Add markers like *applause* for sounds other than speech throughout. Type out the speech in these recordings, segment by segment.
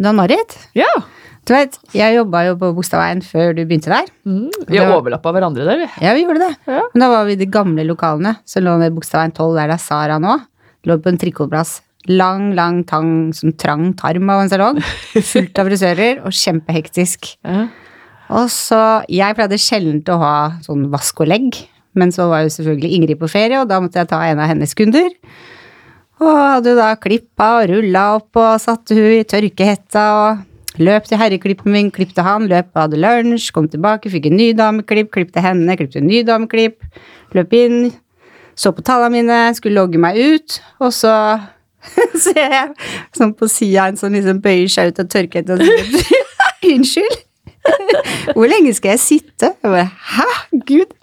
Dan-Marit, Ja. du vet, jeg jobba jo på Bogstadveien før du begynte der. Vi Det var- overlappa hverandre der, vi. Ja, vi gjorde det. Ja. Men da var vi i de gamle lokalene som lå ved Bogstadveien 12, der det er Sara nå. Lå på en trikotplass. Lang, lang tang, sånn trang tarm av en salong. Fullt av frisører og kjempehektisk. Ja. Og så, Jeg pleide sjelden å ha sånn vask og legg, men så var jo selvfølgelig Ingrid på ferie, og da måtte jeg ta en av hennes kunder. Og hadde jo da klippa og rulla opp og satte hun i tørkehetta og løp til herreklippen min, klipte han, løp og hadde lunsj, kom tilbake, fikk en ny dameklipp, klipte henne, klipte en ny dameklipp, løp inn, så på tallene mine, skulle logge meg ut, og så *laughs* ser jeg sånn på sida en som liksom bøyer seg ut av tørkehetta og sier *laughs* unnskyld. *laughs* Hvor lenge skal jeg sitte? Jeg bare, Hæ? Gud!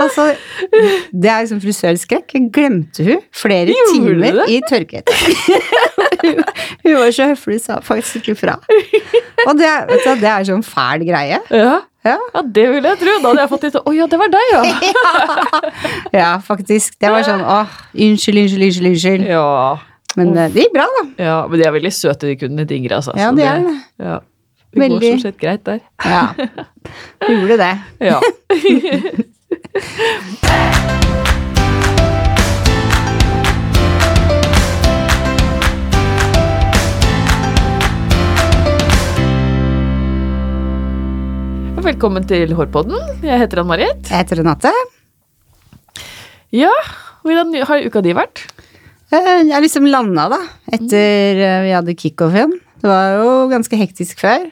Altså, det er liksom frisørskrekk. Jeg glemte hun flere Gjorde du timer det? i tørkehetta. Hun- *laughs* hun var så høflig, sa faktisk ikke fra. Og det, er- vet du, hva, det er sånn fæl greie. Ja. Ja. *laughs* ja, det ville jeg tro. Da hadde jeg fått litt sånn Å ja, det var deg, ja. ja, faktisk. Det var sånn åh, unnskyld, unnskyld, unnskyld. unnskyld. *laughs* Ja. Men eh, det gikk bra, da. ja. Men de er veldig søte, de kundene til Ingrid, altså. Ja, Så det er det. Ja. Det går Veldig. stort sett greit der. Ja. Gjorde det. Ja. *laughs* Velkommen til Hårpodden. Jeg heter Ann-Marit. Jeg heter Renate. Ja, Hvordan har uka di vært? Eh, Jeg liksom landa, da, etter eh, vi hadde kickoffen. Det var jo ganske hektisk før,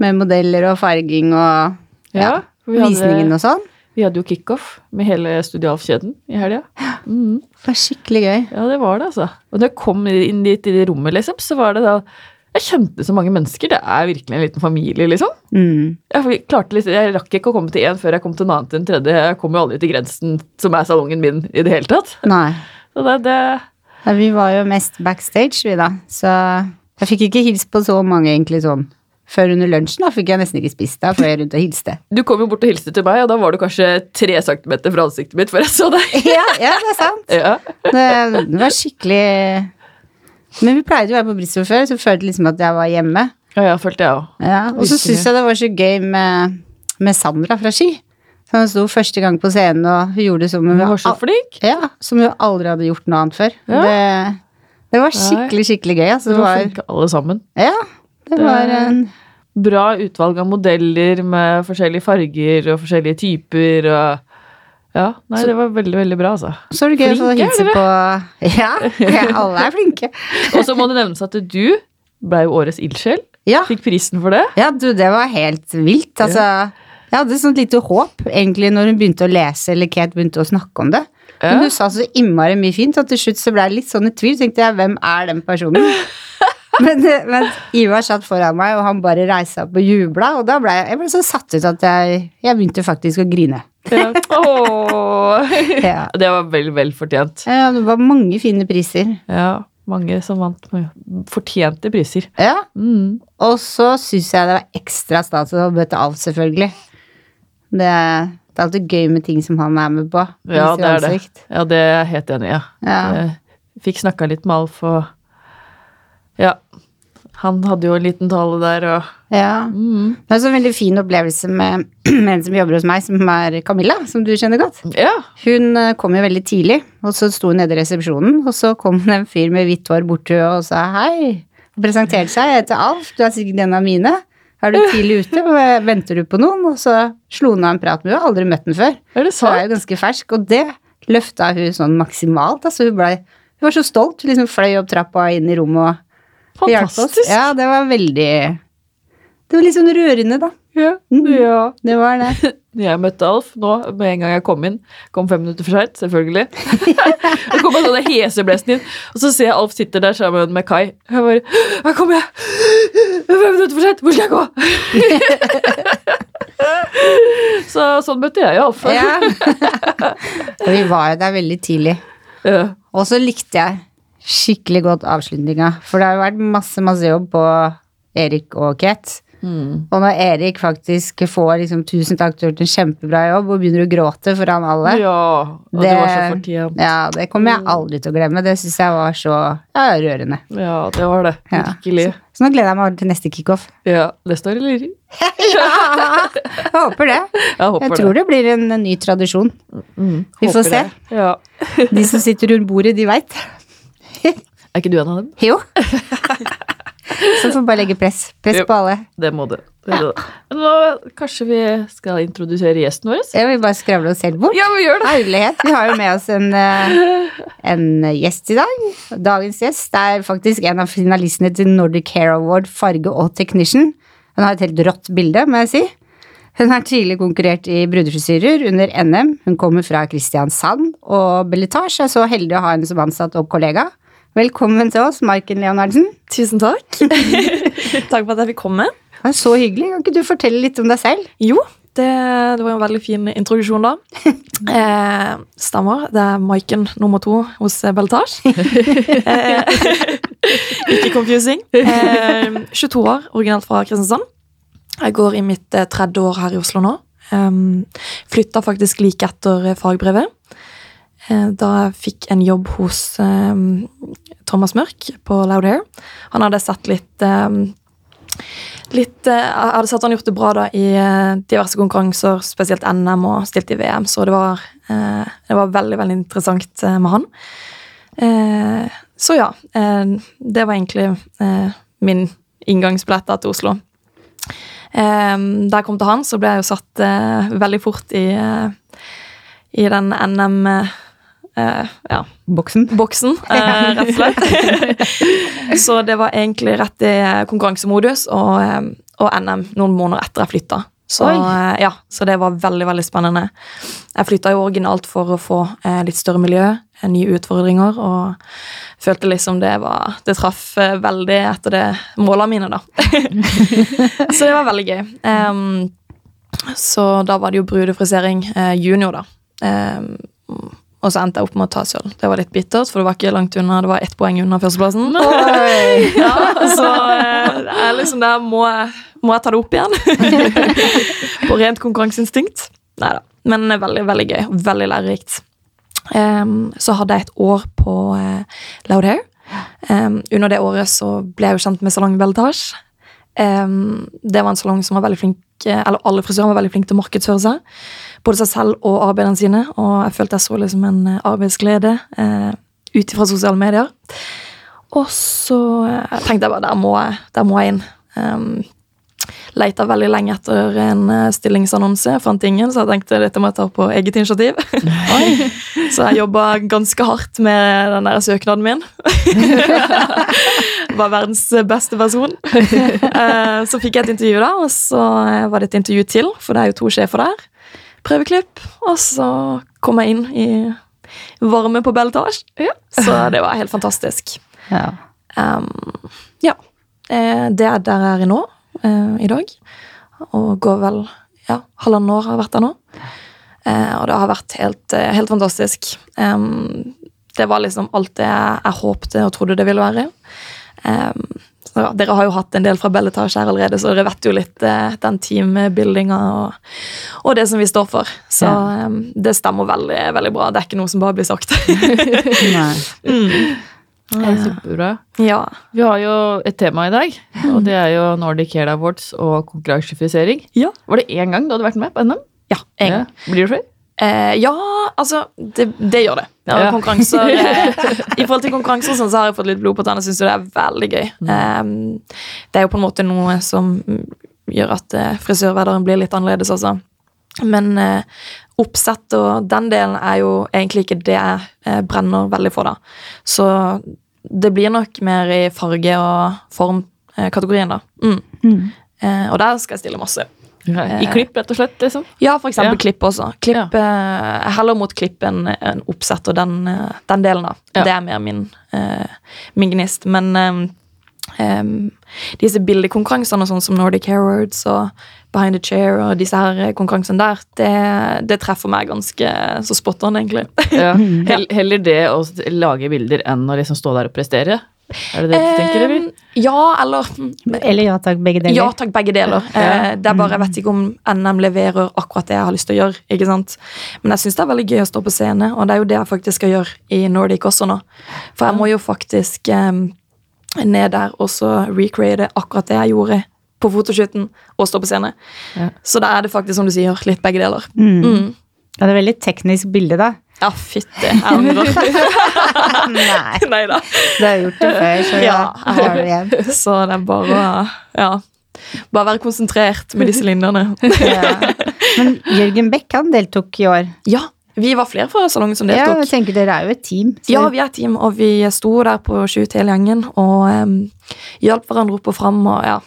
med modeller og farging og ja, vi hadde- visningen og sånn. Vi hadde jo kickoff med hele Studialf-kjeden i helga. Mm. Det var skikkelig gøy. Ja, det var det, altså. Og når jeg kom inn dit i det rommet, liksom, så var det da Jeg kjente så mange mennesker. Det er virkelig en liten familie, liksom. Mm. Jeg, klarte litt, jeg rakk ikke å komme til én før jeg kom til en annen til en tredje. Jeg kom jo aldri til grensen som er salongen min i det hele tatt. Nei. Så det, det Ja, Vi var jo mest backstage, vi, da. Så jeg fikk ikke hilst på så mange, egentlig, sånn. Før under lunsjen da fikk jeg nesten ikke spist da, for jeg rundt og hilste. Du kom jo bort og hilste til meg, og da var du kanskje tre centimeter fra ansiktet mitt før jeg så deg. Ja, *laughs* ja, det er sant. Ja, Det, det var skikkelig Men vi pleide jo å være på Bristol før, så følte jeg liksom at jeg var hjemme. ja, ja følte jeg òg. Ja, og så Virkelig. syns jeg det var så gøy med, med Sandra fra Ski. Så Hun sto første gang på scenen, og hun gjorde det som hun, Du var så al- flink. ja, som hun aldri hadde gjort noe annet før. Ja. Det, det var skikkelig, skikkelig gøy. Altså, Du det var var, flinke alle sammen. ja, det var en Bra utvalg av modeller med forskjellige farger og forskjellige typer og Ja, nei, det var veldig, veldig bra, altså. Så var det gøy å få Flinke, hilse på Ja, *laughs* alle er flinke. *laughs* Og så må det nevnes at du ble jo årets ildsjel. *laughs* Ja, Fikk prisen for det. ja du, det var helt vilt. Altså, jeg hadde et sånt lite håp, egentlig, når hun begynte å lese, eller Kate begynte å snakke om det. Ja. Men hun sa så innmari mye fint at til slutt så ble jeg litt sånn i tvil. tenkte jeg, hvem er den personen? men, men Ivar satt foran meg, og han bare reiste opp og jubla. Og da ble jeg, jeg ble så satt ut at jeg, jeg begynte faktisk å grine. Ja. Åh. *laughs* Ja. Det var vel, vel fortjent. Ja, det var mange fine priser. Ja, mange som vant med fortjente priser. Ja, Mm. Og så syns jeg det var ekstra stas å møte Alf, selvfølgelig. Det, det er alltid gøy med ting som han er med på. Ja, viser det er det. ansikt. Ja, det er jeg helt enig i. Ja. Ja. Jeg Fikk snakka litt med Alf og Ja. Han hadde jo en liten tale der og Ja. mm. Det er også en veldig fin opplevelse med, *clears throat* med en som jobber hos meg, som er Camilla, som du kjenner godt. Ja. Hun eh, kom jo veldig tidlig, og så sto hun nede i resepsjonen, og så kom det en fyr med hvitt hår bort til henne og sa hei. Og presenterte seg. Jeg heter Alf, du er sikkert en av mine. *laughs* Er du tidlig ute? og Venter du på noen? Og så slo hun av en prat med henne. Aldri møtt henne før. Er det Så hun er sant? jo ganske fersk, og det løfta hun sånn maksimalt. Altså hun, ble, hun var så stolt. Hun liksom fløy opp trappa og inn i rommet og hjalp oss. Fantastisk. Ja, det var veldig Det var litt sånn rørende, da. Ja. Mm. ja. Det var det. Når jeg møtte Alf nå, med en gang jeg kom inn, kom fem minutter for seint, selvfølgelig. *laughs* Jeg kom med sånne heseblesende inn, og så ser jeg Alf sitter der sammen med Kai. Jeg bare Her kommer jeg! Fem minutter for seint! Hvor skal jeg gå? *laughs* så sånn møtte jeg jo Alf. Ja. og *laughs* vi var jo der veldig tidlig. Ja. Og så likte jeg skikkelig godt avslutninga, for det har jo vært masse, masse jobb på Erik og Kate. Mm. Og når Erik faktisk får liksom 'tusen takk, du har gjort en kjempebra jobb', og begynner å gråte foran alle, ja. Og det, Det- var så fortjent. Ja, Mm. det kommer jeg aldri til å glemme. Det syns jeg var så ja, rørende. Ja, det var det. Ja. Virkelig. Så nå gleder jeg meg til neste *laughs* kickoff. Ja, neste år, eller? Ja, jeg håper det. Jeg håper Jeg tror det blir en ny tradisjon. Mm, Vi håper får se. det. Ja. De som sitter rundt bordet, de veit. Er ikke du en av dem? *laughs* Jo. Så får vi bare legge press. Press Jo. på alle. Det må du. Det må du. Men Nå, kanskje vi skal introdusere gjesten vår? Ja, vi bare skravler oss selv bort. Ja, vi gjør det! Herlighet. Vi har jo med oss en, eh, en gjest i dag. Dagens gjest er faktisk en av finalistene til Nordic Hair Award farge og technician. Hun har et helt rått bilde, må jeg si. Hun har tidligere konkurrert i brudefrisyrer under NM. Hun kommer fra Kristiansand, og Belletage er så heldig å ha henne som ansatt og kollega. Velkommen til oss, Marken Leonardsen. Tusen *laughs* takk. takk for at jeg fikk komme. Det er så hyggelig. Kan ikke du fortelle litt om deg selv? Jo, det, det var en veldig fin introduksjon, da. Eh, stemmer. Det er Maiken nummer to hos Belletage. eh, *laughs* ikke confusing. Eh, 22 år, originalt fra Kristiansand. Jeg går i mitt eh, tredje år her i Oslo nå. Um, Flytta faktisk like etter eh, fagbrevet. Eh, Da jeg fikk en jobb hos eh, Thomas Mørk på Loud Hair. Han hadde sett litt eh, litt eh, Jeg hadde sett han gjort det bra da i eh, diverse konkurranser, spesielt NM og stilt i VM, så det var, eh, det var veldig, veldig interessant eh, med han. Eh, Så ja. eh, Det var egentlig eh, min inngangsbillett da til Oslo. Eh, Da jeg kom til han, så ble jeg jo satt eh, veldig fort i, eh, i den NM eh, eh, ja, Boksen. *laughs* boksen, eh, rett og slett. så det var egentlig rett i eh, konkurransemodus og, eh, og NM noen måneder etter jeg flytta. Så, Oi. eh, ja, så det var veldig veldig spennende. Jeg flytta jo originalt for å få eh, litt større miljø, eh, nye utfordringer, og følte liksom det var Det traff eh, veldig etter det måla mine, da. *laughs* så det var veldig gøy. Em, så da var det jo brudefrisering eh, junior, da. Em, og så endte jeg opp med å ta sølv. Det var litt bittert, for det var ikke langt unna. Det var ett poeng unna førsteplassen. Oi. *laughs* Ja, så eh, det er liksom der må jeg, må jeg ta det opp igjen. *laughs* På rent konkurranseinstinkt. Nei da. Men det er veldig, veldig gøy. og Veldig lærerikt. Em, så hadde jeg et år på eh, Loud Hair. Em, under det året så ble jeg jo kjent med salongen Belletage. Em, det var en salong som var veldig flink, eh, eller alle frisører var veldig flinke til å markedsføre seg. Både seg selv og arbeidene sine. Og jeg følte jeg så liksom en eh, arbeidsglede eh, ut ifra sosiale medier. Og så eh, tenkte jeg bare, der må jeg, der må jeg inn. Um, Leita veldig lenge etter en eh, stillingsannonse, fant ingen, så jeg tenkte dette må jeg ta på eget initiativ. *laughs* så jeg jobba ganske hardt med den der søknaden min. *laughs* var verdens beste person. Eh, så fikk jeg et intervju, da, og så eh, var det et intervju til, for det er jo to sjefer der. Prøveklipp, og så kom jeg inn i varme på belletasje. Så det var helt fantastisk. Ja. Ehm, ja. Eh, det er der jeg er nå, eh, i dag. Og går vel ja, halvannet år har jeg vært der nå. Eh, og det har vært helt, eh, helt fantastisk. Ehm, det var liksom alt det jeg, jeg håpte og trodde det ville være. Ehm, så ja, dere har jo hatt en del fra Belletage her allerede, så dere vet jo litt eh, den teambuildinga og, og det som vi står for. Så ehm, det stemmer veldig, veldig bra. Det er ikke noe som bare blir sagt. *laughs* Nei. Ja, superbra. ja. Vi har jo et tema i dag, og det er jo Nordic Hair Awards og konkurransefrisering. Ja. Var det én gang du hadde vært med på NM? ja, en gang. Ja. Blir det flere? Eh, ja, altså Det, det gjør det. Ja, Ja. Konkurranser eh, I forhold til konkurranser og sånn, så har jeg fått litt blod på tanna. Syns jo det er veldig gøy. Eh, det er jo på en måte noe som mm, gjør at eh, frisørhverdagen blir litt annerledes, altså. Men eh, oppsett og den delen er jo egentlig ikke det jeg eh, brenner veldig for, da. Så det blir nok mer i farge- og formkategorien, da. Mm. Eh, og der skal jeg stille masse. I klipp, rett og slett? liksom. Ja, for eksempel Ja. klipp også. Klipp, eh, heller mot klipp enn en oppsett og den, eh, den delen, da. Ja. Det er mer min, eh, min gnist. Men eh, em, disse bildekonkurransene og sånn som Nordic Hair Awards og Behind the Chair og disse her eh, konkurransene der, det, det treffer meg ganske så spot on, egentlig. Ja. Hell, heller det å s- lage bilder enn å liksom stå der og prestere? Er det det du tenker, eller? Em, ja, eller mm, Eller ja takk, begge deler. Ja takk, begge deler. Eh, det er bare, Jeg vet ikke om NM leverer akkurat det jeg har lyst til å gjøre. ikke sant? Men jeg syns det er veldig gøy å stå på scene, og det er jo det jeg faktisk skal gjøre i Nordic også nå. For jeg må jo faktisk eh, ned der og så recreate akkurat det jeg gjorde på fotoshooten og stå på scene. Ja. Så da er det faktisk, som du sier, litt begge deler. Mm. Mm. Ja, det er veldig teknisk bilde, *laughs* da. Ja, fytti. Jeg *laughs* angrer. Nei, Nei da. du har gjort det før, så ja, Ja. her har du igjen. Så det er bare å ja, bare være konsentrert med disse linjene. *laughs* Ja. Men Jørgen Beck, han deltok i år. Ja, vi var flere fra salongen som Ja, deltok. jeg tenker Dere er jo et team. så- Ja, vi er et team, og vi sto der på shoot hele gjengen og em, hjalp hverandre opp og fram. Og, ja.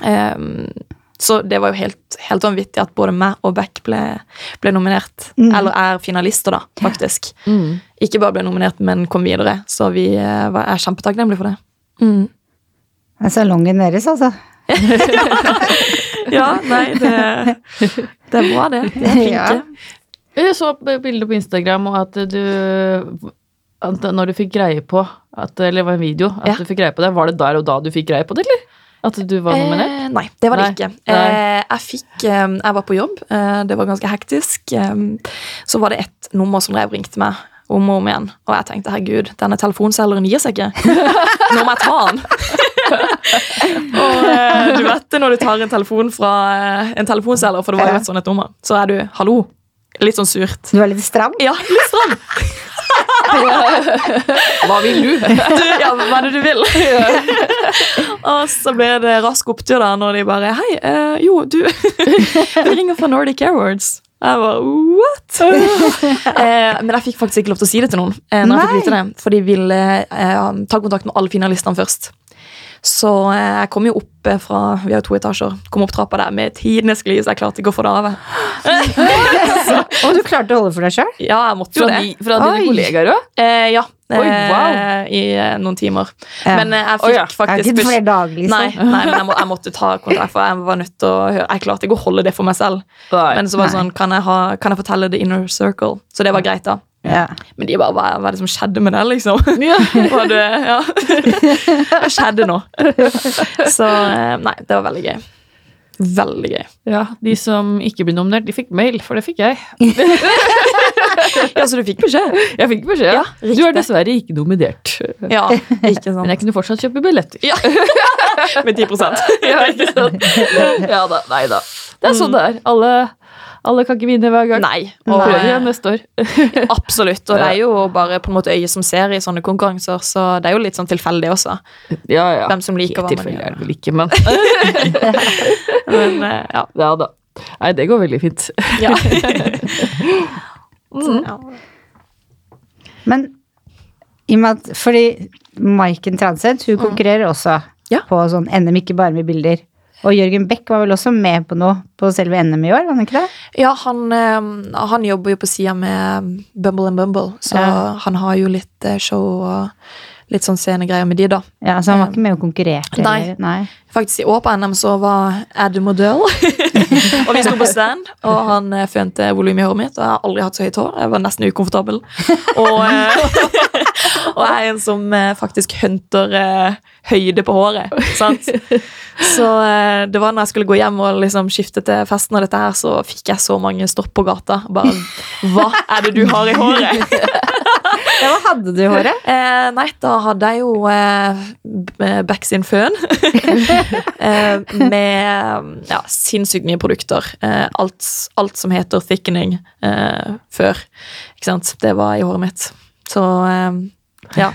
Em, så det var jo helt, helt vanvittig at både meg og Beck ble, ble nominert. Mm. Eller er finalister, da, faktisk. Mm. Ikke bare ble nominert, men kom videre. Så vi eh, var, er kjempetakknemlige for det. Mm. Det er salongen deres, altså. Ja, nei, *laughs* det, det er bra, det. De er flinke. Ja. Jeg så b- bilder på Instagram, og at du at Når du fikk greie på at, Eller det var en video. At Ja. du fikk greie på det, Var det der og da du fikk greie på det, eller? At du var nominert? Eh, nei, det var det Nei, ikke. nei. Eh, jeg fikk eh, Jeg var på jobb, eh, det var ganske hektisk. Eh, så var det ett nummer som drev og ringte meg om og om igjen. Og jeg tenkte herregud, denne telefonselgeren gir seg ikke. *laughs* Nå må jeg ta den! *laughs* og eh, du vet det når du tar en telefon fra eh, en telefonselger, for det var jo et sånt et nummer, så er du 'hallo'. Litt sånn surt. Du er litt stram? Ja, litt stram. Hva vil du? du, ja, hva er det du vil? og så ble det rask opptur da, når de bare Hei, eh, jo, du Vi ringer fra Nordic Airwards. Jeg var, what? eh, men jeg fikk faktisk ikke lov til å si det til noen. Eh, når jeg fikk vite det, For de ville eh, ta kontakt med alle finalistene først. Så eh, jeg kom jo opp eh, fra Vi har jo to etasjer. Kom opp trappa der med tidenes glis. Jeg klarte ikke å få det av. jeg. *laughs* Og du klarte å holde for deg sjøl? Ja, jeg måtte jo Fra, det. de, fra dine Oi. kollegaer òg? Eh, ja. Oi, wow. eh, I eh, noen timer. Ja. Men eh, jeg Oi, fikk ja. Det er faktisk ikke besk- flere dager, liksom. Nei, nei men jeg, må, jeg måtte ta kontakt, for jeg var nødt til å høre. Jeg klarte ikke å holde det for meg selv. Men så var det Nei. sånn, kan jeg, ha, kan jeg fortelle the inner circle? Så det var greit, da. Ja. Men de bare, hva, hva er det som skjedde med det, liksom? *laughs* Hva er det, ja. *laughs* Hva skjedde nå? Så eh, nei, det var veldig gøy. Veldig gøy. Ja, De som ikke ble nominert, de fikk mail, for det fikk *laughs* jeg. Ja, så du fikk beskjed? Jeg fikk beskjed. Ja, du er dessverre ikke nominert. Ja, ikke Men *laughs* sant. jeg kunne fortsatt kjøpe billetter. Ja. Med 10 *laughs* Ja, ikke sant? ja da. Nei da. Det er sånn det er. Alle, alle kan ikke vinne hver gang. Nei. Og Og, prøver igjen neste år. absolutt. Og det er jo bare på en måte øyet som ser i sånne konkurranser, så det er jo litt sånn tilfeldig også. Ja, ja. Hvem som liker hva Helt man tilfeldig er gjør. det vel ikke, men *laughs* Men eh, ja. ja da. Nei, det går veldig fint. *laughs* Ja. *laughs* Så, ja. Men i og med at Fordi Maiken Transeth, hun konkurrerer også Mm. Ja. på sånn NM, ikke bare med bilder. Og Jørgen Beck var vel også med på noe på selve NM i år, var han ikke det? Ja, han, eh, han jobber jo på sida med ehm, Bumble and Bumble, så Ja. han har jo litt eh, show og litt sånn scenegreier med de, da. Ja, Så han var ikke med og konkurrerte? Eh, Nei. eller- Nei. Faktisk, i år på NM så var Adam O'Dell, og vi sto på stand, og han eh, fønte volum i håret mitt, og jeg har aldri hatt så høyt hår. Jeg var nesten ukomfortabel. Og, eh, *laughs* og jeg er en som eh, faktisk hunter eh, høyde på håret, sant? Så eh, det var når jeg skulle gå hjem og liksom skifte til festen og dette her, så fikk jeg så mange stopp på gata. Bare, hva er det du har i håret? Ja, hva hadde du i håret? Eh, nei, da hadde jeg jo eh, B- Beck sin føn. *laughs* eh, med ja, sinnssykt mye produkter. Eh, alt, alt som heter thickening eh, før. Ikke sant? Det var i håret mitt. Så eh, ja.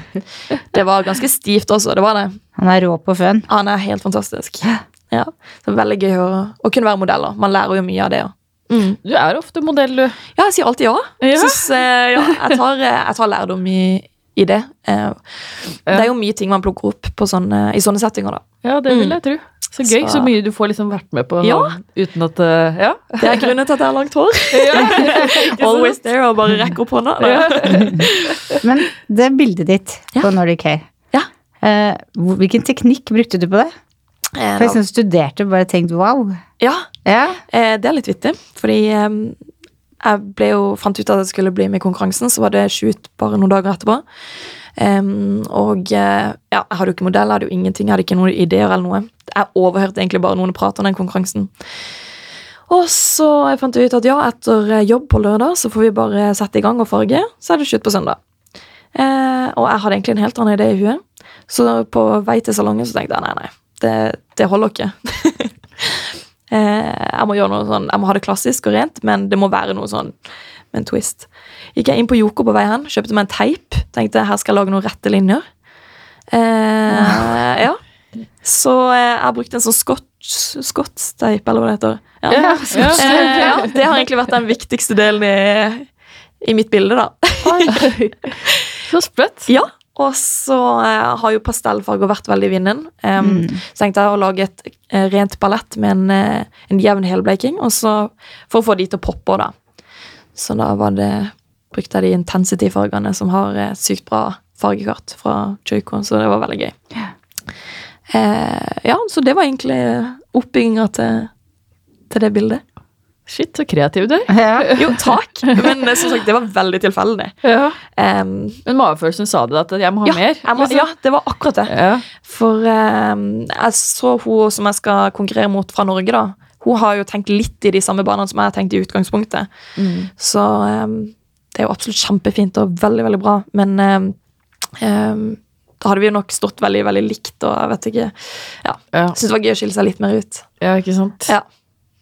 Det var ganske stivt også, det var det. Han er rå på føn. Han er helt fantastisk. Ja, så Veldig gøy å, å kunne være modell. også. Man lærer jo mye av det. Mm. også. Du er ofte modell, du. Ja, jeg sier alltid ja. Ja. Jeg, synes, eh, ja jeg, tar, eh, jeg tar lærdom i, i det. Eh, Det er jo mye ting man plukker opp på sånne, i sånne settinger. da. Ja, det vil jeg tro. Mm. Så gøy. Så, Så- mye du får liksom vært med på Ja. uten at eh, Ja. Det er grunnen til at jeg har langt hår. *laughs* Always there, og bare rekker opp hånda. Ja. Men det bildet ditt Ja. på Nordic Hair Ja. eh, hvor- Hvilken teknikk brukte du på det? Eh, For jeg synes du studerte og bare tenkte wow. Ja, Ja, eh, det er litt vittig, fordi eh, jeg ble jo, fant ut at jeg skulle bli med i konkurransen, så var det shoot bare noen dager etterpå. Em, og eh, ja, jeg hadde jo ikke modell, jeg hadde jo ingenting, jeg hadde ikke noen ideer eller noe. Jeg overhørte egentlig bare noen prate om den konkurransen. Og så jeg fant jeg ut at ja, etter eh, jobb på lørdag så får vi bare sette i gang og farge, så er det slutt på søndag. Eh, og jeg hadde egentlig en helt annen idé i huet. Så på vei til salongen så tenkte jeg nei, nei, det, det holder ikke. *laughs* Eh, jeg må gjøre noe sånn, jeg må ha det klassisk og rent, men det må være noe sånn med en twist. Gikk jeg inn på Joko på vei hen, kjøpte meg en teip. Tenkte her skal jeg lage noen rette linjer. Eh, ja. Så eh, jeg brukte en sånn scotch, scotch-teip, eller hva det heter. Ja. *laughs* Ja, ja. Eh, ja, *laughs* det har egentlig vært den viktigste delen i, i mitt bilde, da. *laughs* Så sprøtt. Ja, og så eh, har jo pastellfarger vært veldig i vinden. Em, Så tenkte jeg å lage et eh, rent palett med en, eh, en jevn helbleking, og så for å få de til å poppe, da. Så da var det, brukte jeg de intensity-fargene som har eh, sykt bra fargekart fra Joico, så det var veldig gøy. Eh, ja, så det var egentlig oppbygginga til, til det bildet. Shit, så kreativ du er. Ja. Jo, takk. *laughs* Men eh, som sagt, det var veldig tilfeldig. Em, Men magefølelsen sa det, at jeg må ha ja, mer. jeg må, liksom. ja, det var akkurat det. Ja. For em, jeg så hun som jeg skal konkurrere mot fra Norge, da. Hun har jo tenkt litt i de samme banene som jeg har tenkt i utgangspunktet. Så em, det er jo absolutt kjempefint og veldig, veldig bra. Men em, em, da hadde vi jo nok stått veldig, veldig likt, og jeg vet ikke Ja, Ja. Syns det var gøy å skille seg litt mer ut. ja, ikke sant. Ja.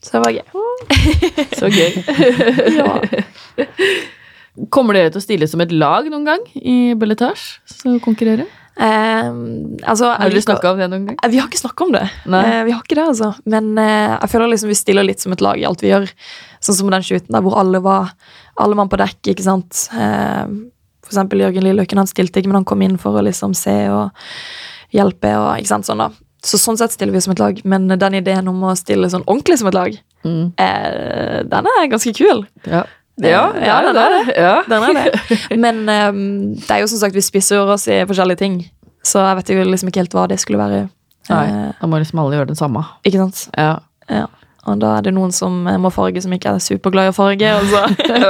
Så det var gøy. Så *laughs* gøy. *laughs* Ja. Kommer dere til å stille som et lag noen gang i belletasje? Så konkurrere? Em, altså, jeg Har dere liker- snakka om det noen gang? Eh, Vi har ikke snakka om det. Nei. Eh, vi har ikke det, altså. Men eh, jeg føler liksom vi stiller litt som et lag i alt vi gjør. Sånn som den shooten der hvor alle var alle mann på dekk, ikke sant. Eh, for eksempel Jørgen Lilløken, han stilte ikke, men han kom inn for å liksom se og hjelpe og ikke sant, sånn da. Så sånn sett stiller vi som et lag, men den ideen om å stille sånn ordentlig som et lag, Mm. eh, den er ganske kul. Ja. Det- Ja, ja, det er jo den er det. Ja. Den er *laughs* det. Men eh, det er jo som sagt, vi spisser oss i forskjellige ting, så jeg vet jo liksom ikke helt hva det skulle være. Nei, Eh, da må liksom alle gjøre den samme. ikke sant? Ja. Ja, og da er det noen som eh, må farge som ikke er superglad i å farge, og så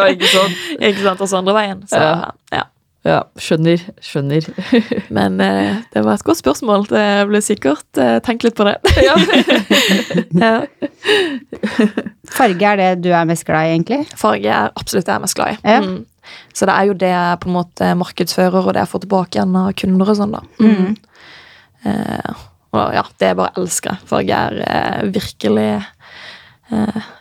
*laughs* *laughs* ikke sant? ikke sant, også andre veien. Så, Ja. ja. Ja, skjønner. Skjønner. Men eh, det var et godt spørsmål. Det ble sikkert eh, tenkt litt på *laughs* det. Ja. *laughs* Ja. Farge er det du er mest glad i, egentlig? Farge er absolutt det jeg er mest glad i. Ja. Mm. Så det er jo det jeg på en måte markedsfører, og det jeg får tilbake igjen av kunder og sånn, da. Mm. Eh, og ja, det jeg bare elsker jeg. Farge er eh, virkelig eh,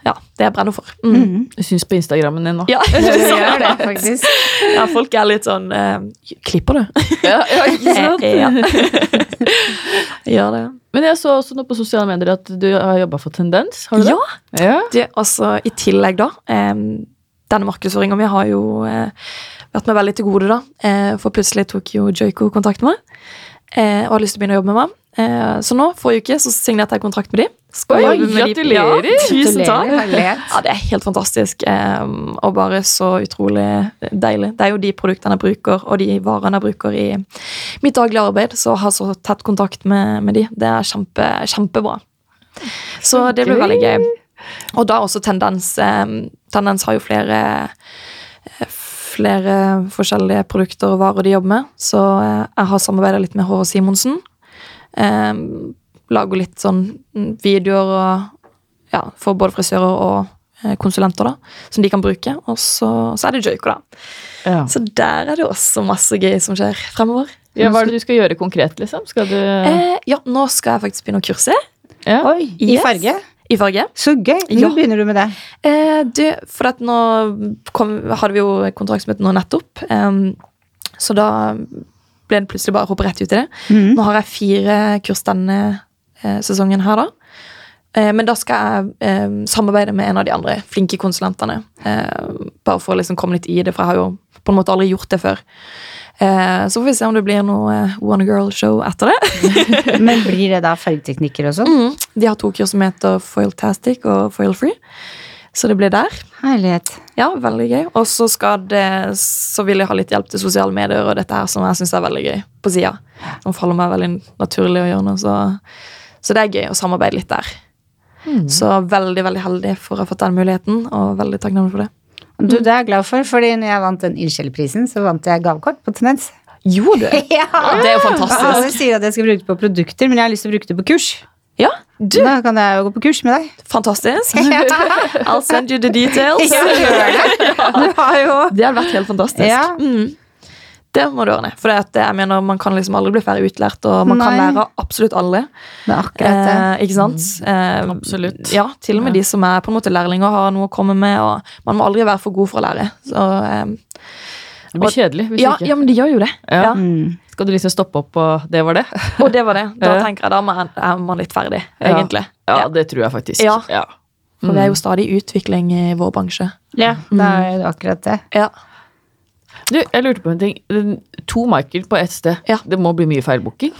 Ja, det jeg brenner for. Mm. Du syns på Instagrammen din nå. Ja. Ja, du gjør *laughs* det, faktisk. *laughs* ja, folk er litt sånn eh, Klipper du? *laughs* Ja, ja, ikke sant? Ja. *laughs* Gjør det. Men jeg så også noe på sosiale medier at du har jobba for Tendens. Har du Ja. det? Ja. Du, altså, I tillegg, da. em, denne markedsføringa mi har jo eh, vært meg veldig til gode, da. Eh, for plutselig tok jo Joiko kontakt med meg eh, og hadde lyst til å begynne å jobbe med meg. Eh, så nå, forrige uke, så signerte jeg kontrakt med de. Skal Oi, jobbe med de- gratulerer! Ja, tusen takk! Gratulerer, herlighet. Ja, det er helt fantastisk, em, og bare så utrolig deilig. Det er jo de produktene jeg bruker, og de varene jeg bruker i mitt daglige arbeid, så å ha så tett kontakt med, med de, det er kjempe, kjempebra. Så det blir gøy. veldig gøy. Og da også Tendens. em, Tendens har jo flere eh, flere forskjellige produkter og varer de jobber med, så eh, jeg har samarbeidet litt med H.H. Simonsen. Em, lager litt sånn mm, videoer og ja, for både frisører og eh, konsulenter da, som de kan bruke. Og så, så er det joiko, da. Ja. Så der er det også masse gøy som skjer fremover. ja. Hva er det du skal gjøre konkret, liksom? Skal du Eh, ja, nå skal jeg faktisk begynne å kurse ja. Oi, i Yes. farge? i farge. Så gøy! Nå Ja. begynner du med det. Eh, du, for at nå kom, hadde vi jo kontraktsmøte nå nettopp, em, så da ble det plutselig bare å hoppe rett ut i det. Mhm. Nå har jeg fire kurs denne eh, sesongen her, da. Eh, men da skal jeg eh, samarbeide med en av de andre flinke konsulentene. Eh, bare for å liksom komme litt i det, for jeg har jo på en måte aldri gjort det før. Eh, så får vi se om det blir noe eh, One Girl-show etter det. Men blir det da fargeteknikker og sånn? Mm. *laughs* De har to kurs som heter Foiltastic og Foil Free, så det blir der. Herlighet. Ja, veldig gøy. Og så skal det, så vil jeg ha litt hjelp til sosiale medier og dette her som jeg syns er veldig gøy på sida. Som faller meg veldig naturlig å gjøre nå, så, så det er gøy å samarbeide litt der. Så veldig, veldig heldig for å ha fått den muligheten, og veldig takknemlig for det. Du, det er jeg glad for, fordi når jeg vant den ildsjelprisen, så vant jeg gavekort på Tendens. Jo, du! *laughs* Ja! Det er jo Og alle fantastisk. sier at jeg skal bruke det på produkter, men jeg har lyst til å bruke det på kurs. Ja, du! Da kan jeg jo gå på kurs med *laughs* deg. Fantastisk. Ja, I'll send you the details. gjør det. Du har jo Det hadde vært helt fantastisk. Ja. Mm. Det må du ordne. For det at, jeg mener, man kan liksom aldri bli ferdig utlært, og man kan Nei. lære av absolutt alle. Det er akkurat det. Eh, ikke sant? Eh, Absolutt. Ja, til og med de som er på en måte lærlinger, har noe å komme med. og Man må aldri være for god for å lære. Så, eh, Det blir kjedelig hvis ja, ikke. ja, men de gjør jo det. Ja. Ja. Mm. Skal du liksom stoppe opp, og det var det? Og det var det. Da Ja. tenker jeg, da man- er man litt ferdig, Ja. egentlig. Mm. Ja, Ja. det tror jeg faktisk. Ja. Ja. For vi er jo stadig i utvikling i vår bransje. Ja, det er akkurat det. Ja, Du, jeg lurte på en ting. Den- To Michael på ett sted. Ja. Det må bli mye feilbooking.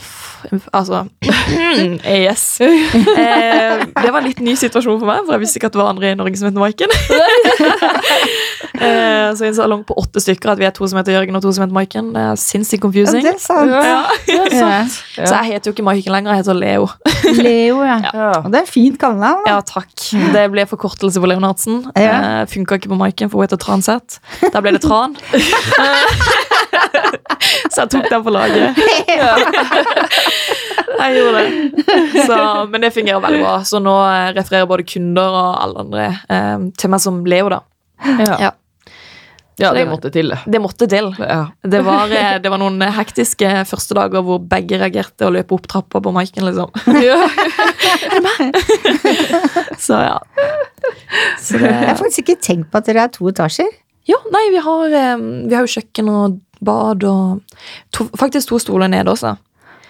altså *laughs* Yes. Eh, det var en litt ny situasjon for meg, for jeg visste ikke at det var andre i Norge som het Maiken. eh, så i en salong på åtte stykker at vi er to som heter Jørgen og to som heter Maiken. Det er Ja, sinnssykt confusing. det er sant. Ja, ja, Ja. sant. Ja. Så jeg heter jo ikke Maiken lenger, jeg heter Leo. Leo, ja. Ja. Og det er fint kallenavn. da. *laughs* Ja, takk. Det ble forkortelse på Leonardsen. Ja. Ja. Funka ikke på Maiken, for hun heter Transet. Da ble det *laughs* Tran. så jeg tok den på *laughs* laget. Jeg gjorde det. Så, men det fungerer veldig bra. Så nå eh, refererer både kunder og alle andre eh, til meg som Leo, da. Ja. Ja. ja, det måtte til. det. Det måtte til. Ja. Det var, eh, det var noen hektiske første dager hvor begge reagerte og løp opp trappa på Maiken, liksom. *laughs* Så ja. Så Jeg har faktisk ikke tenkt på at dere er to etasjer. Ja, nei, vi har, eh, vi har jo kjøkken og bad og to, faktisk to stoler nede også,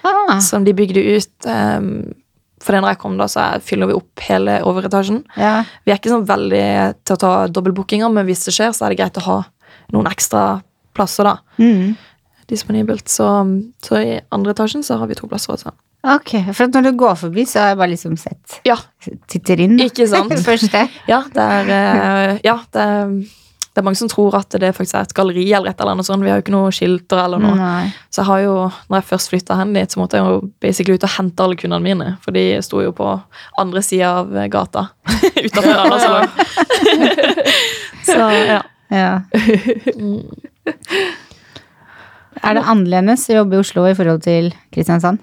Ah. som de bygde ut. Eh, for når jeg kom da, så er- fyller vi opp hele overetasjen. Ja. Vi er ikke sånn veldig til å ta dobbeltbookinger, men hvis det skjer, så er det greit å ha noen ekstra plasser da, Mm. disponibelt. Så, så i andre etasjen så har vi to plasser også. Ok, for at når du går forbi, så har jeg bare liksom sett Ja, Titter inn. da. Ikke sant? Først *laughs* det. ja, det er, eh, ja det, er, det er mange som tror at det faktisk er et galleri eller et eller annet sånt. Vi har jo ikke noe skilter eller noe. Nei. Så jeg har jo, når jeg først flytta hen dit, så måtte jeg jo basically ut og hente alle kundene mine. For de sto jo på andre sida *laughs* av gata. Utenfor Rana salong. *laughs* så ja. Mm. Ja. Er det annerledes å jobbe i Oslo i forhold til Kristiansand?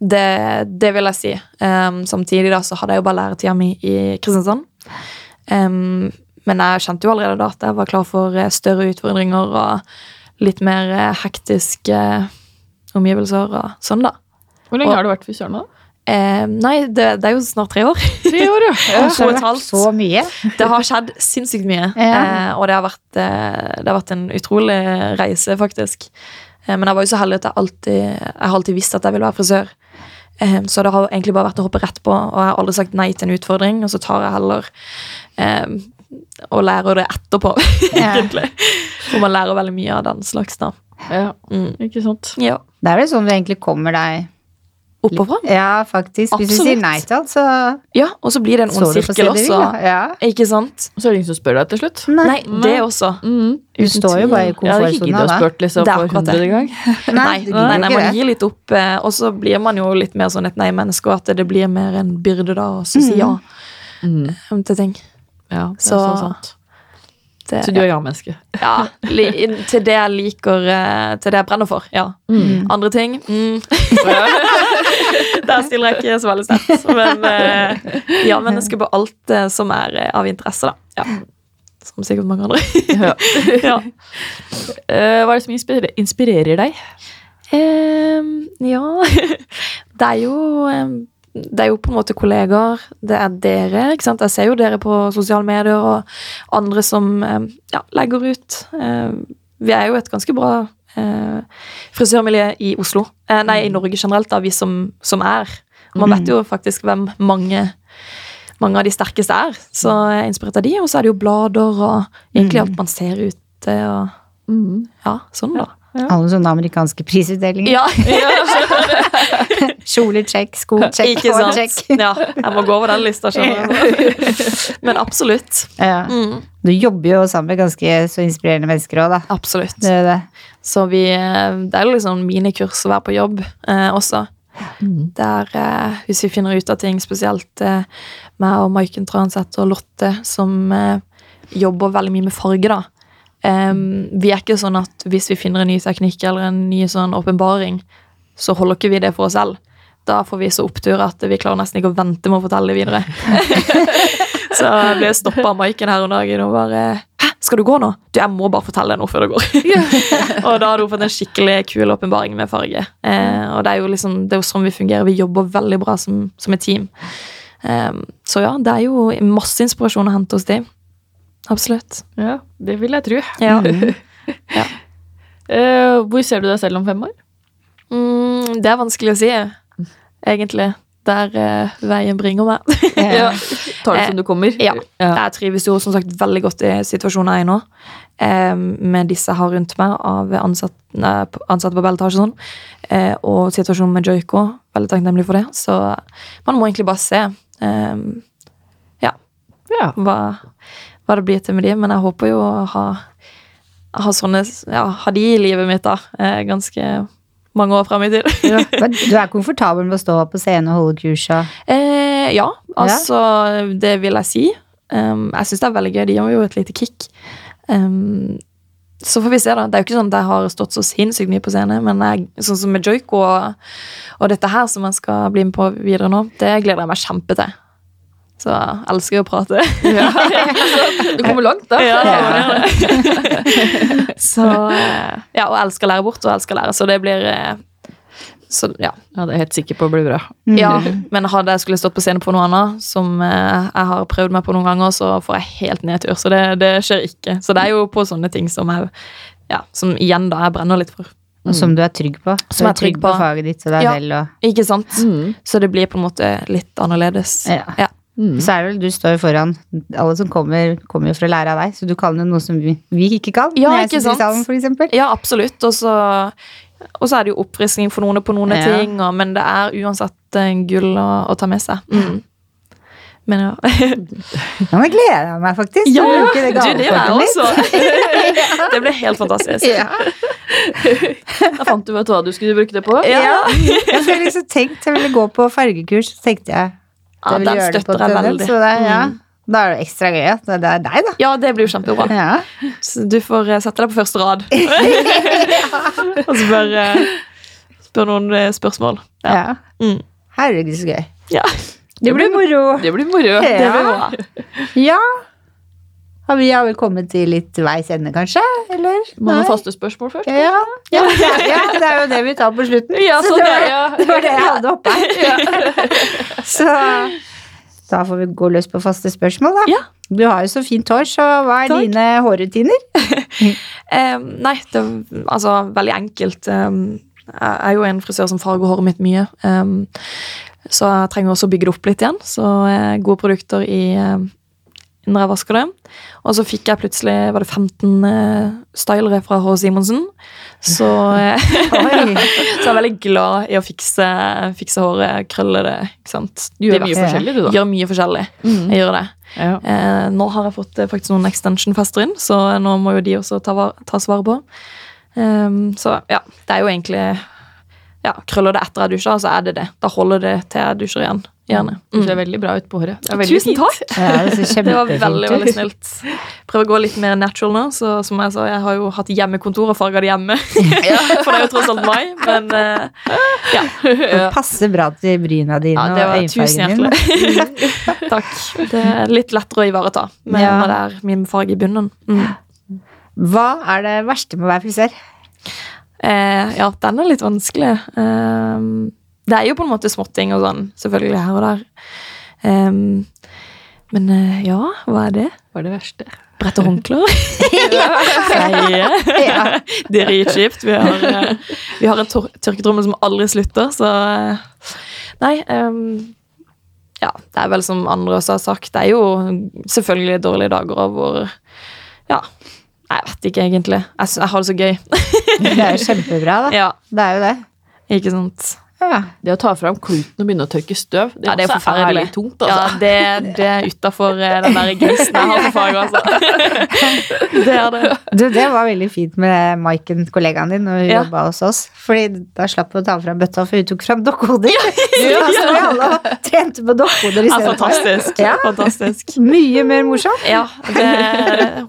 Det, det vil jeg si. Ehm, samtidig da så hadde jeg jo bare læretida mi i Kristiansand. Ehm, men jeg kjente jo allerede da at jeg var klar for eh, større utfordringer og litt mer eh, hektiske eh, omgivelser og sånn, da. Hvor lenge har du vært før Søren? da? Ehm, nei, det, det er jo snart tre år. Tre år, ja. *laughs* ja. Det har og et vært halvt. så mye. Det har skjedd sinnssykt mye, Ja. eh, og det har, vært, eh, det har vært en utrolig reise, faktisk. Eh, men jeg var jo så heldig at jeg alltid, jeg har alltid visst at jeg ville være frisør. Eh, så det har egentlig bare vært å hoppe rett på, og jeg har aldri sagt nei til en utfordring, og så tar jeg heller eh, og lærer det etterpå, Ja. *laughs* egentlig. For man lærer veldig mye av den slags, da. ja. Mm. Ikke sant. Ja. Det er vel sånn du egentlig kommer deg Oppoverfra? Ja, faktisk. Hvis du Absolutt. sier nei til alt, så Ja, og så blir det en så ond du på sirkel stedet hvil. også. da. Ja. Ikke sant? Og så er det ingen som spør deg til slutt. Nei. Nei, det også. Mhm. Du står jo bare i Jeg hadde komfortsona ikke giddet å da. spørre liksom, Det er for akkurat det. hundrede gang. du Nei, nei, nei, gidder jo man ikke det. gir litt opp, eh, og så blir man jo litt mer sånn et nei-menneske, og at det blir mer en byrde da, og så si ja Mhm. um, til ting. Ja, det er så, Så- sant. Det, Så du er ja-menneske. ja, li, inn til det jeg liker, eh, til det jeg brenner for, ja. Andre ting, mm. der stiller jeg ikke så veldig sterkt, men eh, ja, menneske på alt eh, som er eh, av interesse da, ja. Som sikkert mange andre. Ja. *laughs* ja. Eh, hva er det som inspirerer, inspirerer deg? Ehm, ja *laughs* Det er jo ehm, Det er jo på en måte kollegaer. Det er dere. ikke sant? Jeg ser jo dere på sosiale medier og andre som ehm, ja, legger ut. Ehm, vi er jo et ganske bra eh, frisørmiljø i Oslo. Eh, nei, i Norge generelt, da, vi som, som er. Man vet jo faktisk hvem mange mange av de sterkeste er. Så jeg er inspirert av de, og så er det jo blader og egentlig alt man ser ute. og ja, sånn da. Alle sånne amerikanske prisutdelinger. *laughs* Ja, Kjolecheck, skocheck, Ikke sant? hårcheck. Ja, jeg må gå over den lista, skjønner jeg. Men absolutt. Ja. Mm, Du jobber jo sammen med ganske så inspirerende mennesker òg, da. absolutt. Det er jo det. Så vi, eh, det er jo liksom minikurs å være på jobb eh, også. Mhm. Der, eh, hvis vi finner ut av ting, spesielt eh, meg og Maiken Transeth og Lotte, som eh, jobber veldig mye med farge, da. Eh, vi er ikke sånn at hvis vi finner en ny teknikk eller en ny sånn åpenbaring, så holder ikke vi det for oss selv. Da får vi så opptur at vi klarer nesten ikke å vente med å fortelle det videre. så jeg ble stoppa av Maiken her om dagen og bare Hæ, Skal du gå nå? Du, jeg må bare fortelle deg noe før det går. *laughs* og da hadde hun fått en skikkelig kul åpenbaring med farge. Eh, og det er jo liksom, det er jo sånn vi fungerer. Vi jobber veldig bra som, som et team. Eh, så ja, det er jo masse inspirasjon å hente hos de. Absolutt. Ja, det vil jeg tro. *laughs* Ja. Eh, hvor ser du deg selv om fem år? Mm, det er vanskelig å si, egentlig. Der eh, veien bringer meg. Ja. Tar det som du kommer? Ja. Jeg trives jo som sagt veldig godt i situasjonen jeg er i nå, eh, med disse jeg har rundt meg av ansatte, nei, p- ansatte på Belletage og sånn, eh, og situasjonen med Joiko. Veldig takknemlig for det. Så man må egentlig bare se eh, *laughs* Ja. hva, hva det blir til med de, men jeg håper jo å ha, ha sånne ja, ha de i livet mitt da, eh, ganske mange år frem i tid. *laughs* Men Du er komfortabel med å stå på scenen og holde kurs og Eh, ja, altså det vil jeg si. Um, jeg syns det er veldig gøy. De gir meg jo et lite kick. Um, så får vi se, da. Det er jo ikke sånn at jeg har stått så sinnssykt mye på scene, men jeg, sånn som med joiko og, og dette her som jeg skal bli med på videre nå, det gleder jeg meg kjempe til. Så jeg elsker jo å prate. Du kommer langt, da. Ja. *laughs* så eh, Ja, og jeg elsker å lære bort, og jeg elsker å lære, så det blir eh, Så ja. Ja, det er jeg helt sikker på blir bra. Mm. Ja, *laughs* men hadde jeg skulle stått på scenen på noe annet, som eh, jeg har prøvd meg på noen ganger, så får jeg helt nedtur. Så det, det skjer ikke. Så det er jo på sånne ting som jeg ja, som igjen da jeg brenner litt for. Og som du er trygg på. Mm. Som du jeg er trygg på. faget ditt og deg Ja. selv. Og, Ikke sant? Så det blir på en måte litt annerledes. Mm. Ja. Mm. Så er det vel du står foran alle som kommer, kommer jo for å lære av deg, så du kan jo noe som vi, vi ikke kan. Ja, når jeg ikke sitter i sant? salen, for eksempel. Ja, absolutt. Og så og så er det jo oppfriskning for noen på noen Ja. ting, og, men det er uansett eh, gull å, å ta med seg. Mm. *laughs* Men ja. Ja, men gleder jeg meg faktisk. til Ja, å bruke det du, *laughs* det gjør jeg gavekortet *laughs* mitt. også. *laughs* det ble helt fantastisk. Ja. Da fant du ut hva du skulle bruke det på. Ja. Jeg skulle liksom tenkt jeg ville gå på fargekurs, så tenkte jeg Ja, jeg ville den gjøre det på støtter jeg Tønnel, veldig. Mm. Så det, er- ja. Da er det ekstra gøy at det er deg, da. Ja, det blir jo kjempebra. Ja. Så du får eh, sette deg på første *laughs* rad. og så bare eh, spør noen eh, spørsmål. Ja. Mm. Herregud, så gøy. Ja. Ah. Det blir moro. Det blir moro. Ja. Det blir bra. Ja. Har vi har vel kommet til litt veis ende, kanskje? Eller? Må Nei. noen faste spørsmål først? Ja. Ja, ja, det er jo det vi tar på slutten. Ja, så sånn det, er var, det, ja. det var det jeg hadde *laughs* oppe her. Så da får vi gå løs på faste spørsmål, da. Ja. Du har jo så fint hår, så hva er Takk. dine hårrutiner? Eh, nei, det er altså veldig enkelt. Eh, jeg er jo en frisør som farger håret mitt mye. Eh, så jeg trenger også å bygge det opp litt igjen. Så eh, gode produkter i eh, når jeg vasker det. Og så fikk jeg plutselig var det 15 eh, stylere fra H. Simonsen. Så, eh, Oi. så jeg er veldig glad i å fikse, fikse håret, krølle det. ikke sant? Du gjør mye Diverse. forskjellig, du, da. Gjør mye forskjellig. Mm. Jeg gjør det. Ja. Eh, nå har jeg fått eh, faktisk noen extension-fester inn, så eh, nå må jo de også ta, var, tas vare på. Ehm, så ja, det er jo egentlig ja, Krøller det etter jeg dusjer, så er det det. Da holder det til jeg dusjer igjen. gjerne. Mm. Du ser veldig bra ut på håret. Det er veldig fint. Tusen takk! *laughs* Ja, det ser Det var kjempefint veldig ut. veldig snilt. Prøver å gå litt mer natural nå. Så som Jeg sa, jeg har jo hatt hjemmekontor og farga det *laughs* hjemme. For det er jo tross alt meg. Men eh, ja. Det passer bra til bryna dine ja, det var og tusen øyenfargen din. hjertelig. *laughs* Takk. Det er litt lettere å ivareta men Ja. når det er min farge i bunnen. Mm. Hva er det verste med å være *laughs* frisør? Eh, ja, den er litt vanskelig. Eh, det er jo på en måte småtting og sånn, selvfølgelig, her og der. Eh, men eh, ja, hva er det? Hva er det verste? *laughs* Brette håndklær? *laughs* Feie. Ja. *laughs* Det er kjipt. Vi har, eh, vi har en tor- tørketrommel som aldri slutter, så eh, Nei. ehm, ja, det er vel som andre også har sagt, det er jo selvfølgelig dårlige dager og hvor Ja, jeg vet ikke egentlig. Jeg, sy- jeg har det så gøy. *laughs* Det er jo kjempebra, da. ja, Det er jo det. ikke sant? Ja. Det å ta fram kluten og begynne å tørke støv, det, Ja, det er også forferdelig. litt tungt, altså. Ja, det, det er utafor eh, den der geisten jeg har på faget, *laughs* altså. det er det. Du, det var veldig fint med Maiken, kollegaen din, når hun Ja. jobba hos oss. Fordi da slapp hun å ta fram bøtta, for hun tok fram dokkehoder. *laughs* Så da sto vi alle og trente på dokkehoder Ja, istedenfor. fantastisk. Ja. fantastisk. *laughs* Mye mer morsomt. Ja, det,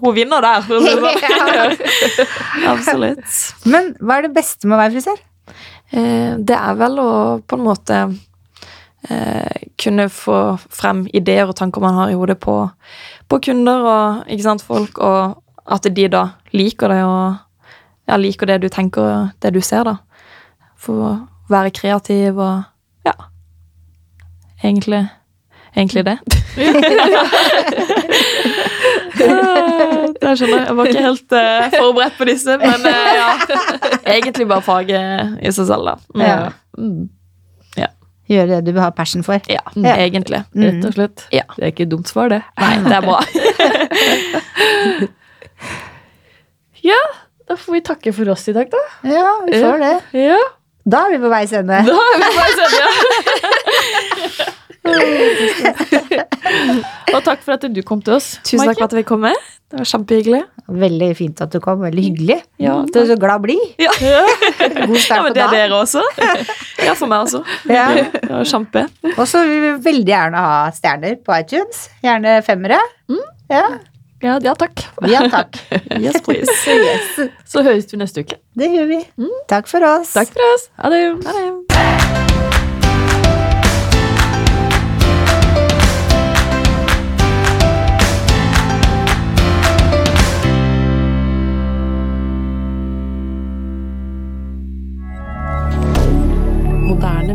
hun vinner der, for å si det sånn. *laughs* *laughs* Ja. Absolutt. Men hva er det beste med å være frisør? *laughs* Eh, det er vel å på en måte eh, kunne få frem ideer og tanker man har i hodet på, på kunder og ikke sant, folk, og At de da liker det, og, ja, liker det du tenker og det du ser, da. For å være kreativ og ja. Egentlig, egentlig det. Ah, *laughs* Det skjønner jeg. Jeg var ikke helt eh, forberedt på disse, men eh, ja. *laughs* Egentlig bare faget i seg selv, da. Mm. Ja. Mm. Gjøre det du har passion for. Ja, Mm. egentlig. Rett og slett. Ja. Det er ikke et dumt svar, det. Nei, det er bra. Ja, da får vi takke for oss i dag, da. Ja, vi får det. Ja, Da er vi på veis ende. da er vi på vei sende, ja. *laughs* Og takk for at du kom til oss. Tusen takk Maiken. for at vi kom med. Det var kjempehyggelig. Veldig fint at du kom. Veldig hyggelig. Ja, du er så glad blid. *laughs* Ja. God Ja, start på men det er dagen. dere *laughs* også. Ja, for meg også. Ja. Det var kjempe. Og så vil vi veldig gjerne ha stjerner på iTunes. Gjerne femmere. Mm. Ja. Ja, ja, takk. Ja, takk. Yes, please. *laughs* Yes. Så høres vi neste uke. Det gjør vi. Takk for oss. Takk for oss. Ha det. Ha det. Moderne